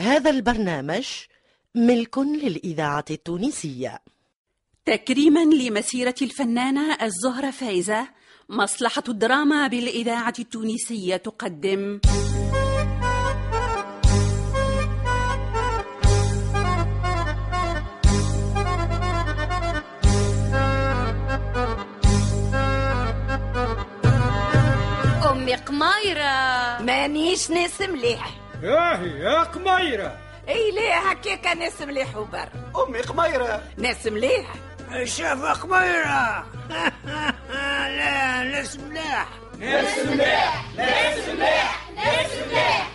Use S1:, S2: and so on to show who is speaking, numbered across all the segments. S1: هذا البرنامج ملك للإذاعة التونسية
S2: تكريما لمسيرة الفنانة الزهرة فايزة مصلحة الدراما بالإذاعة التونسية تقدم
S3: أمي قمايرة
S4: مانيش ناس مليح
S5: ياهي يا قميرة
S4: اي لا هكاك ناس مليح وبر
S6: أمي قميرة
S4: ناس مليح
S7: شاف قميرة لا ناس ملاح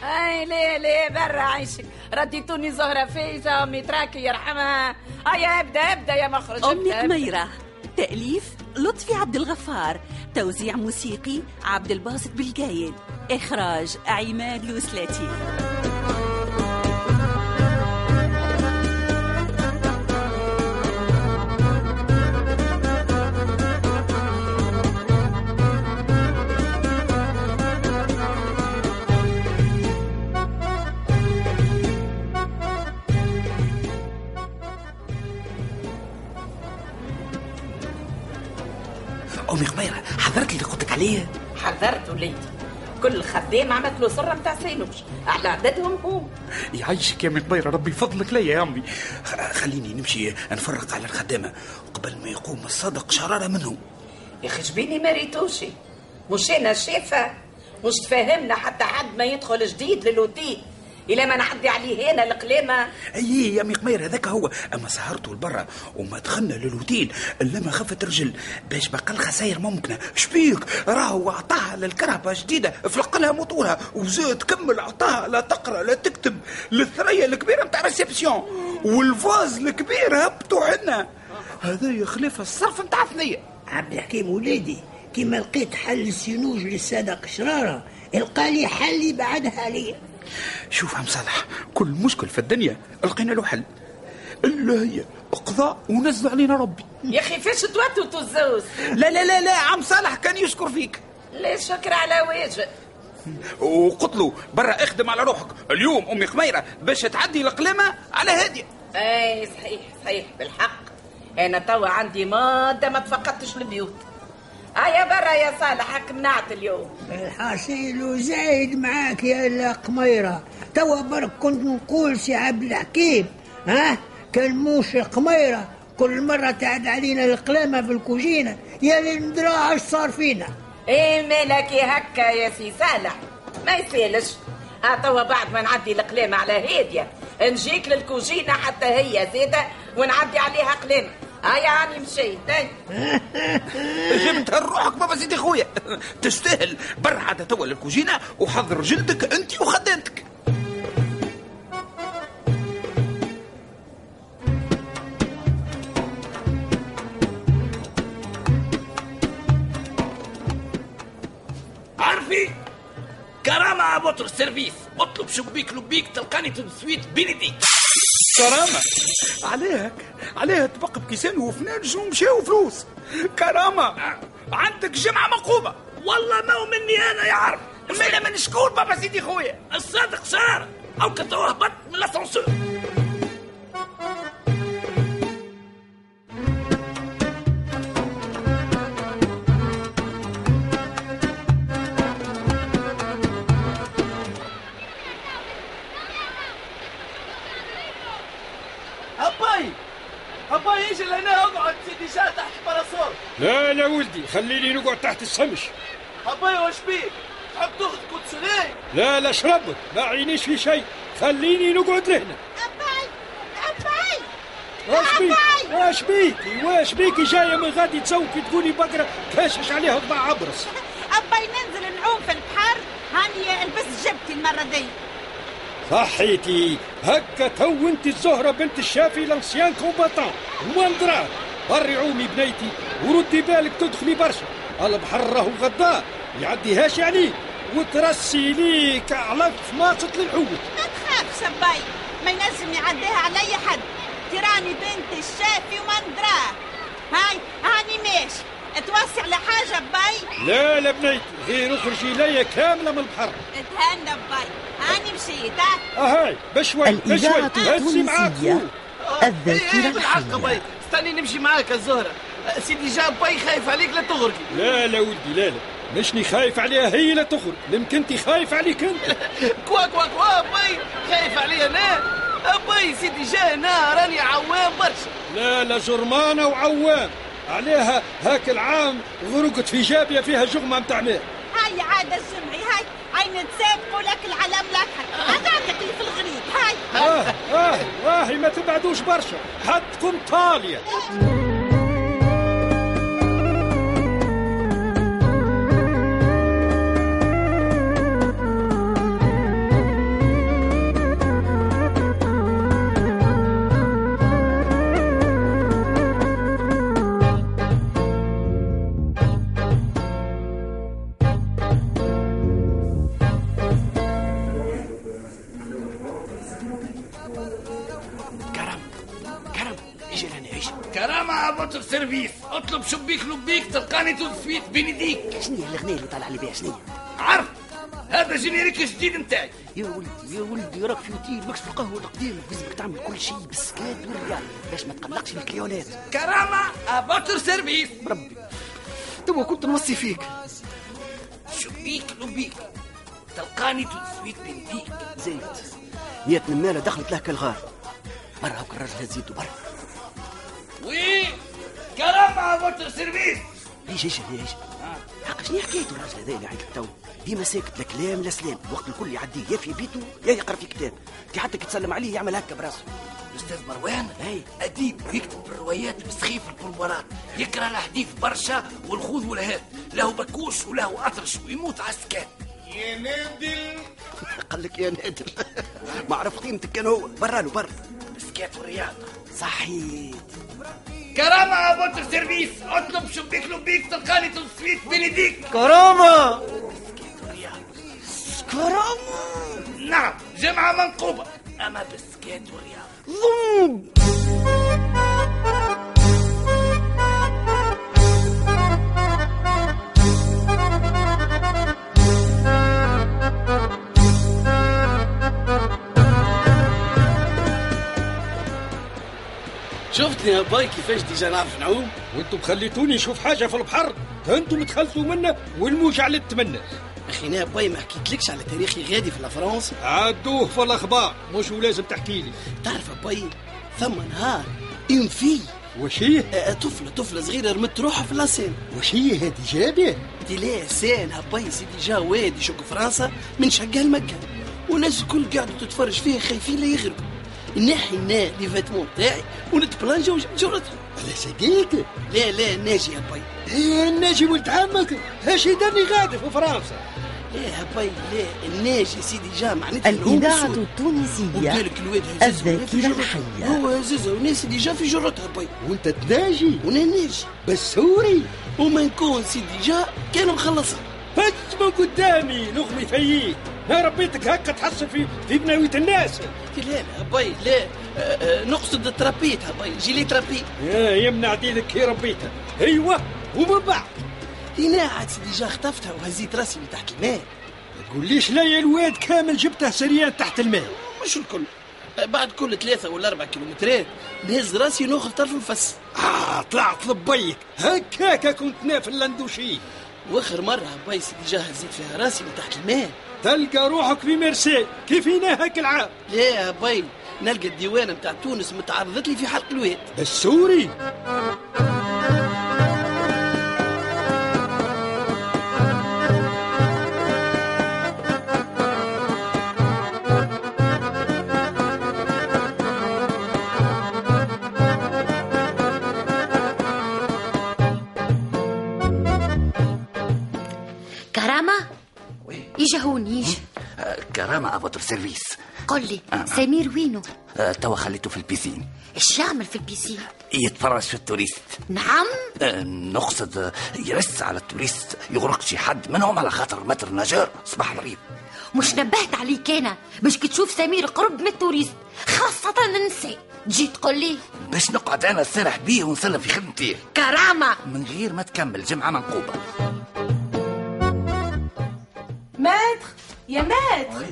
S4: اي لا لا برا عيشك رديتوني زهرة فايزة امي تراكي يرحمها هيا ابدا ابدا يا مخرج
S2: أمي
S4: ابدأ، ابدأ.
S2: قميرة تأليف لطفي عبد الغفار توزيع موسيقي عبد الباسط بالجايد إخراج عماد لوسلاتي
S7: أمي قميرة حضرت اللي قلت لك عليه
S4: حذرت وليدي كل خدام عملت له سره نتاع سينوش على عددهم هم
S6: يعيشك يا أمي قميرة ربي فضلك ليا يا أمي
S7: خ- خليني نمشي نفرق على الخدامة قبل ما يقوم الصدق شرارة منهم
S4: يا اخي جبيني ما ريتوشي مش انا شافه مش تفهمنا حتى حد ما يدخل جديد للوتيل الى ما نعدي عليه هنا القلامه
S7: أي أيه يا أمي قميرة هذاك هو أما سهرته لبرا وما دخلنا للوتيل إلا ما خفت رجل باش بقى الخسائر ممكنة شبيك راهو أعطاها للكرهبة جديدة فلقلها موتورها وزاد كمل أعطاها لا تقرأ لا تكتب للثريا الكبيرة متاع ريسبسيون والفاز الكبير هبطوا عنا هذا يخلف الصرف متاع ثنية
S8: عبد الحكيم وليدي كيما لقيت حل السنوج للصدق شرارة القى لي حل يبعدها عليا
S7: شوف عم صالح كل مشكل في الدنيا لقينا له حل الا هي قضاء ونزل علينا ربي
S4: يا اخي فاش توتوا الزوز
S7: لا لا لا لا عم صالح كان يشكر فيك
S4: لا شكر على واجب
S7: وقلت له برا اخدم على روحك اليوم امي قميره باش تعدي القلامه على هادي
S4: اي صحيح صحيح بالحق انا توا عندي ماده ما تفقدتش البيوت هيا برا يا صالح هاك منعت اليوم
S8: الحصيل زايد معاك يا لا قميرة توا برك كنت نقول سي عبد الحكيم ها كان موش قميرة كل مرة تعد علينا القلامة في الكوجينة يا لندرا اش صار فينا
S4: اي إيه مالك هكا يا سي صالح ما يسالش ها توا بعد ما نعدي القلامة على هادية نجيك للكوجينة حتى هي زيادة ونعدي عليها قلامة هيا هاني مشيت هاي.
S7: جبتها لروحك بابا سيدي خويا تستاهل برا عاد توا للكوجينه وحضر جلدك انت وخدامتك
S9: عارفي كرامة يا بطر سيرفيس اطلب شبيك لبيك تلقاني في السويت بندي
S7: كرامة عليها عليها تبقى بكيسان وفنانج ومشاو فلوس كرامة عندك جمعة مقومة
S9: والله ما هو مني انا يا عرب
S7: مالا من شكون بابا سيدي خويا
S9: الصادق شرارة او كتو هبط من الاسانسور
S6: أباي أباي اجي لهنا اقعد سيدي شا تحت البارasol
S5: لا لا ولدي خليني نقعد تحت الشمس
S9: اباي واش بيك تحب تاخذ كوتسولي
S5: لا لا شربت ما عينيش في شيء خليني نقعد لهنا واش بيك واش بيك واش بيك جاية من غادي تسوقي تقولي بقرة كاشش عليها طبع عبرس
S10: أبي ننزل نعوم في البحر هاني لبس جبتي المرة دي
S5: صحيتي هكا تو انت الزهرة بنت الشافي لانسيان كوباطان واندران بري عومي بنيتي وردي بالك تدخلي برشا البحر راهو غدار يعديهاش عليك وترسي ليك علف ماصت للحوت
S10: ما تخافش أبي ما ينجم يعديها علي حد تراني بنت الشافي وما ندراه هاي هاني ماشي توسع لحاجة باي
S5: لا لا بنيتي غير اخرجي ليا كامله من البحر
S10: تهنى باي هاني مشيت ها
S5: اهاي بشوي بشوي
S1: الإذاعة
S5: هسي معاك
S1: التونسية الذاكرة
S8: إيه، بالحق باي
S1: الحية
S8: استني نمشي معاك الزهرة سيدي جاب باي خايف عليك لا تغرقي
S5: لا لا ولدي لا لا مشني خايف عليها هي لا تخرج لمكنتي خايف عليك انت
S8: كوا كوا كوا باي خايف علي انا باي سيدي جا هنا راني عوام برشا
S5: لا لا جرمانه وعوام عليها هاك العام غرقت في جابيه فيها جغمه متاع ماء
S10: هاي عاد الجمعي هاي عين تسابقوا لك العلم لاحق هذاك اللي في الغريب هاي
S5: اه اه اه ما تبعدوش برشا حدكم طاليه
S9: كرم كرم اجي لاني اجي كرامة بطل سيرفيس اطلب شبيك لبيك تلقاني تو سويت بين يديك
S7: شنو هي الاغنيه اللي طالع لي بها شنو هي؟
S9: عرف هذا جينيريك الجديد نتاعي
S7: يا ولدي يا ولدي راك في وتيل ماكش في القهوه القديم لازمك تعمل كل شيء بالسكات والريال باش ما تقلقش من الكليونات
S9: كرامة ابطل سيرفيس
S7: ربي توا كنت نوصي فيك
S9: شبيك لبيك تلقاني تو سويت بين يديك
S7: زيد يا تنماله دخلت له كالغار برا هاك الراجل هزيته برا
S9: وي كرامة بطل سيرفيس
S7: ليش ايش ليش حق شنو حكايته الراجل هذا اللي عيط التو ديما ساكت لا كلام لا سلام الوقت الكل يعديه يا في بيته يا يقرا في كتاب كي حتى كي تسلم عليه يعمل هكا براسه
S9: الاستاذ مروان هاي اديب ويكتب الروايات بسخيف البلورات يكره الحديث برشا والخوذ والهات له بكوش وله اطرش ويموت على السكات
S7: يا نادر قال لك يا نادر ما عرف قيمتك كان هو برا له برا
S9: مسكات والرياضه
S7: صحيت
S9: كرامة بوتر سيرفيس اطلب شبيك لبيك تلقاني تصفيت بين يديك
S8: كرامة
S7: كرامة
S9: نعم جمعة منقوبة اما بسكات والرياضه
S7: ضم
S8: شفتني يا باي كيفاش ديجا نعرف نعوم
S5: وانتم خليتوني نشوف حاجه في البحر انتم تخلصوا منا والموج على التمنى
S8: اخي انا باي ما حكيتلكش على تاريخي غادي في لافرنسا
S5: عدوه في الاخبار مش ولازم تحكي لي
S8: تعرف يا باي ثم نهار ان في
S5: وش هي
S8: آه، طفلة طفلة صغيرة رمت روحها في لاسين
S5: وش هي هذه جابيه
S8: دي ليه سين هباي سيدي جا وادي شوك فرنسا من شقها لمكة والناس الكل قاعدوا تتفرج فيه خايفين لا يغرقوا ناحي نا لي فاتمون تاعي ونتبلانجا وجبت جرتها
S5: على صديقك
S8: لا لا ناجي يا باي
S5: إيه الناجي ولد عمك هاش يدني غادي في فرنسا
S8: لا يا باي لا الناجي سيدي جا معناتها
S1: الإذاعة
S8: الهوم
S1: التونسية
S8: وقالك الواد هززها وناس في
S1: الذاكرة
S8: جرتها.
S1: الحية
S8: هو هززها والناس اللي جا في جرتها باي
S5: وانت تناجي
S8: وانا ناجي
S5: بالسوري
S8: وما نكون سيدي جا كان مخلصها
S5: فج من قدامي نغمي فيك يا ربيتك هكا تحصل في في بناوية الناس
S8: لا لا باي لا آه، آه، نقصد ترابيتها باي جيلي ترابيت
S5: يا يمنع دينك كي ربيتها ايوه ومن بعد
S8: هنا عاد سيدي جا خطفتها وهزيت راسي من تحت الماء
S5: ما تقوليش لا يا الواد كامل جبته سريان تحت الماء
S8: مش الكل آه، بعد كل ثلاثة ولا أربعة كيلومترات نهز راسي ناخذ طرف الفس
S5: آه طلعت لبيك هكاك كنت ناف اللندوشي
S8: واخر مرة باي سيدي جا هزيت فيها راسي من تحت الماء
S5: تلقى روحك في ميرسي كيفينا هاك العام
S8: لا باي نلقى الديوانة متاع تونس متعرضت لي في حلق الواد
S5: السوري
S11: كرامة يجي هون يجي
S9: كرامة افاتر سيرفيس
S11: قل لي سمير وينو
S9: آه، توا خليته في البيسين
S11: ايش يعمل في البيسين
S9: يتفرج في التوريست
S11: نعم
S9: آه، نقصد آه، يرس على التوريست يغرق شي حد منهم على خاطر متر نجار صباح مريض
S11: مش نبهت عليك انا باش كي تشوف سمير قرب من التوريست خاصة النساء تجي تقول لي
S9: باش نقعد انا السرح بيه ونسلم في خدمتي
S11: كرامة
S9: من غير ما تكمل جمعه منقوبه
S4: ماتر يا ماتر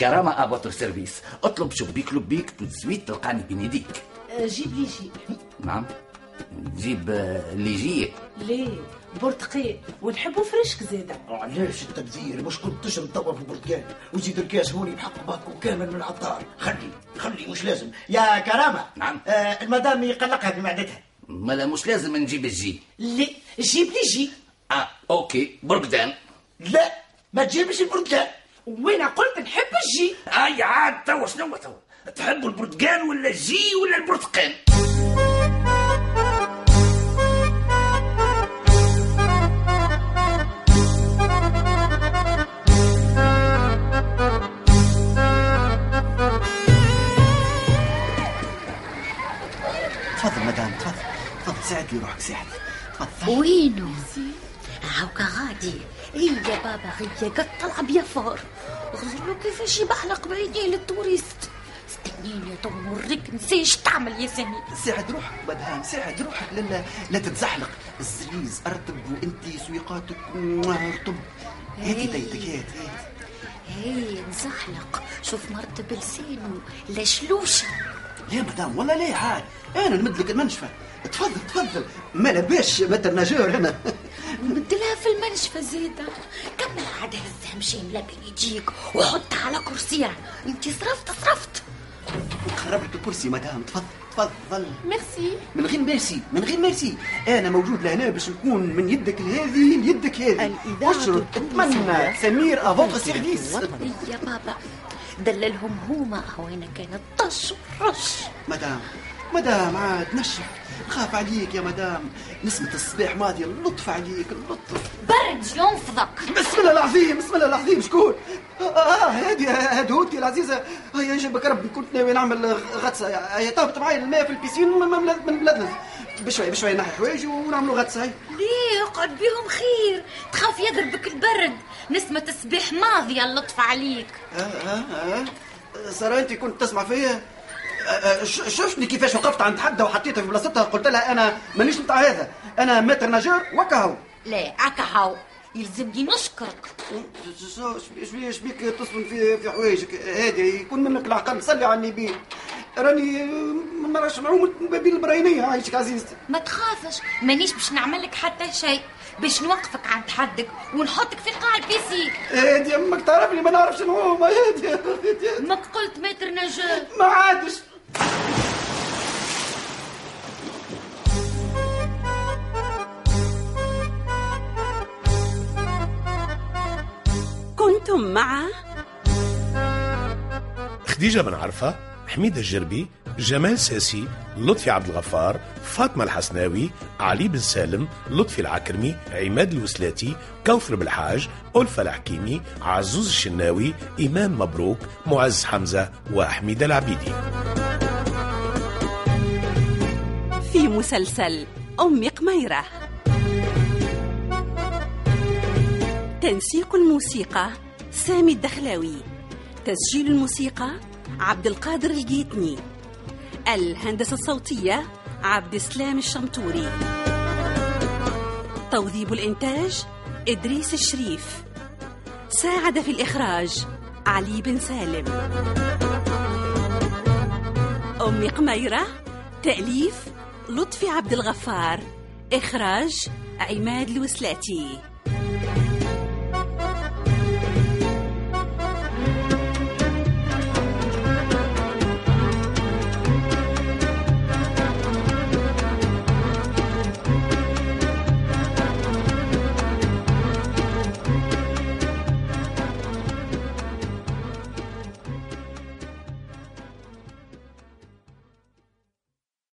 S9: كرامه ابوتر سيرفيس اطلب شبيك لبيك تزويد تلقاني بين يديك
S12: آه، جيب لي شيء
S9: نعم جيب آه، اللي يجيك
S12: ليه برتقال ونحبه فريشك زيادة
S13: علاش التبذير مش كنت تشرب توا في البرتقال وتزيد الكاس هوني بحق باكو كامل من العطار خلي خلي مش لازم يا كرامه نعم آه المدام يقلقها في معدتها
S9: ملا مش لازم نجيب الجي
S12: ليه جيب لي جي
S9: اه اوكي برقدان
S13: لا ما تجيبش البرتقال
S12: وانا قلت نحب الجي
S9: اي آه، عاد توا شنو توا تحبوا البرتقال ولا الجي ولا البرتقال
S7: تفضل مدام تفضل تفضل ساعد لي روحك ساعد
S11: وينو هاوكا غادي هي بابا هي قد طلع بيا فار غير له كيفاش يبحلق بعيدين للتوريست استنيني يا تو نوريك نسيش تعمل يا سمير
S7: ساعد روحك مدام ساعد روحك لا لا تتزحلق الزريز ارتب وانت سويقاتك مواه، ارتب هاتي
S12: إيه.
S7: بيتك هاتي
S11: هي نزحلق شوف مرتب لسانه لا شلوشة
S7: يا مدام والله ليه عاد انا نمد لك المنشفه تفضل تفضل ما لباش متر ناجور انا
S11: مدلها في المنشفة زيادة كمل عاد هزها مشي ملابي يجيك وحطها على كرسيها انت صرفت صرفت
S7: نقرب لك الكرسي مدام تفضل تفضل
S11: ميرسي
S7: من غير ميرسي من غير ميرسي انا موجود لهنا باش نكون من يدك لهذه ليدك هذه اشرب اتمنى سمير افوق سيرفيس
S11: يا بابا دللهم هما وين كانت طش رش
S7: مدام مدام عاد نشف نخاف عليك يا مدام نسمة الصباح ماضية اللطف عليك اللطف
S11: برد ينفضك
S7: بسم الله العظيم بسم الله العظيم شكون آه، اه هادي هادي هوتي العزيزة آه، هيا جابك ربي كنت ناوي نعمل غطسة هيا طابت معايا الماء في البيسين من- من بلاد- من بلادنا بشوية بشوية نحي حوايجي ونعملوا غطسة هيا
S11: ليه اقعد بيهم خير تخاف يضربك البرد نسمة الصباح ماضية اللطف عليك
S7: آه آه آه سارة أنت كنت تسمع فيا آه، آه، ش- شفتني كيفاش وقفت عند حدها وحطيتها في بلاصتها قلت لها أنا مانيش متاع هذا أنا متر نجار وكهو
S11: لا اكا هاو يلزمني نشكرك
S7: شبيك شبيك تصفن في في حوايجك هادي يكون منك العقل صلي على النبي راني ما نراش نعوم ما بين البراينية عايشك عزيزتي
S11: ما تخافش مانيش باش نعملك حتى شيء باش نوقفك عند حدك ونحطك في قاع البيسين
S7: هادي امك إيه، تعرفني ما نعرفش نعوم إيه، هادي
S11: ما قلت متر نجار
S7: ما عادش
S2: كنتم مع
S14: خديجة بن عرفة حميد الجربي جمال ساسي لطفي عبد الغفار فاطمة الحسناوي علي بن سالم لطفي العكرمي عماد الوسلاتي كوثر بالحاج ألفة الحكيمي عزوز الشناوي إمام مبروك معز حمزة وحميدة العبيدي
S2: في مسلسل أم قميرة تنسيق الموسيقى سامي الدخلاوي تسجيل الموسيقى عبد القادر الجيتني الهندسة الصوتية عبد السلام الشمتوري توظيب الإنتاج إدريس الشريف ساعد في الإخراج علي بن سالم أم قميرة تأليف لطفي عبد الغفار إخراج عماد الوسلاتي